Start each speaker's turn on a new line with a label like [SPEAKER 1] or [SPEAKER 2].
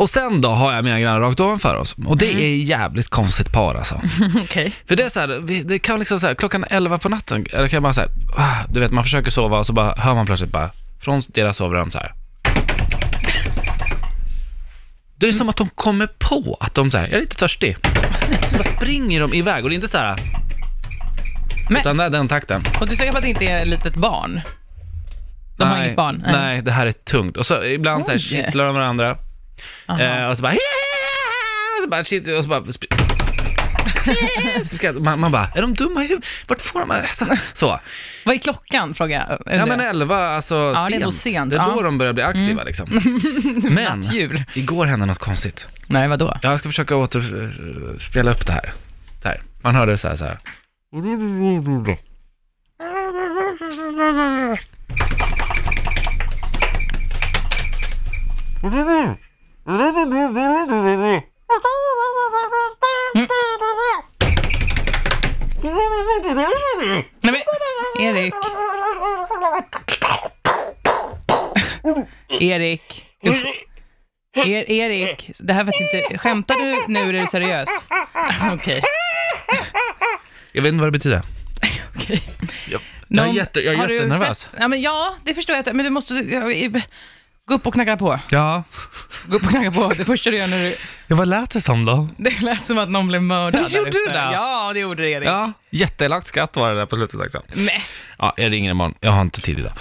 [SPEAKER 1] Och sen då har jag mina grannar rakt ovanför oss. Och det är jävligt konstigt par alltså.
[SPEAKER 2] Okej.
[SPEAKER 1] För det är så här, vi- det kan liksom så här, klockan 11 på natten, eller kan jag bara så här, ah, du vet man försöker sova och så bara hör man plötsligt bara, från deras sovrum så här. Det är som att de kommer på att de så här, jag är lite törstig. Så bara springer de iväg och det är inte så här,
[SPEAKER 2] Men-
[SPEAKER 1] utan det är den takten.
[SPEAKER 2] Och du är säker på att det inte är ett litet barn? De har inget barn?
[SPEAKER 1] Nej. det här är tungt. Och så ibland så här
[SPEAKER 2] Oj.
[SPEAKER 1] kittlar de varandra.
[SPEAKER 2] Aha.
[SPEAKER 1] Eh, och så bara... Och så bara, shit, och så bara sp- man, man bara, är de dumma i huvudet? Vart får de alltså, Så.
[SPEAKER 2] Vad är klockan, frågar jag.
[SPEAKER 1] Ja men elva, alltså
[SPEAKER 2] det är
[SPEAKER 1] sent.
[SPEAKER 2] ändå sent,
[SPEAKER 1] Det är då
[SPEAKER 2] ja. Mm.
[SPEAKER 1] de börjar bli aktiva liksom. Men,
[SPEAKER 2] Nattdjur.
[SPEAKER 1] igår hände något konstigt.
[SPEAKER 2] Nej, vadå?
[SPEAKER 1] Jag ska försöka återspela upp det här. Så här. Man hörde så här, så här.
[SPEAKER 2] Nej, men, Erik. Erik. Du, er, Erik, det här var faktiskt inte... Skämtar du nu eller är du seriös? Okej.
[SPEAKER 1] Jag vet inte vad det betyder.
[SPEAKER 2] okej.
[SPEAKER 1] Jag, jag är,
[SPEAKER 2] Någon-
[SPEAKER 1] jätte, jag är
[SPEAKER 2] har du
[SPEAKER 1] jättenervös.
[SPEAKER 2] sett- Ja, men ja, det förstår jag. att- Men du måste... ja, Gå upp och knacka på.
[SPEAKER 1] Ja,
[SPEAKER 2] Gå upp och knacka på. Det första du gör när du...
[SPEAKER 1] ja, vad lät det som då?
[SPEAKER 2] Det lät som att någon blev mördad.
[SPEAKER 1] Gjorde
[SPEAKER 2] där
[SPEAKER 1] det
[SPEAKER 2] ute.
[SPEAKER 1] det?
[SPEAKER 2] Ja, det gjorde det, Erik.
[SPEAKER 1] Ja, jätteelakt skatt var det där på slutet också.
[SPEAKER 2] Nej.
[SPEAKER 1] Ja, jag ringer imorgon. Jag har inte tid idag.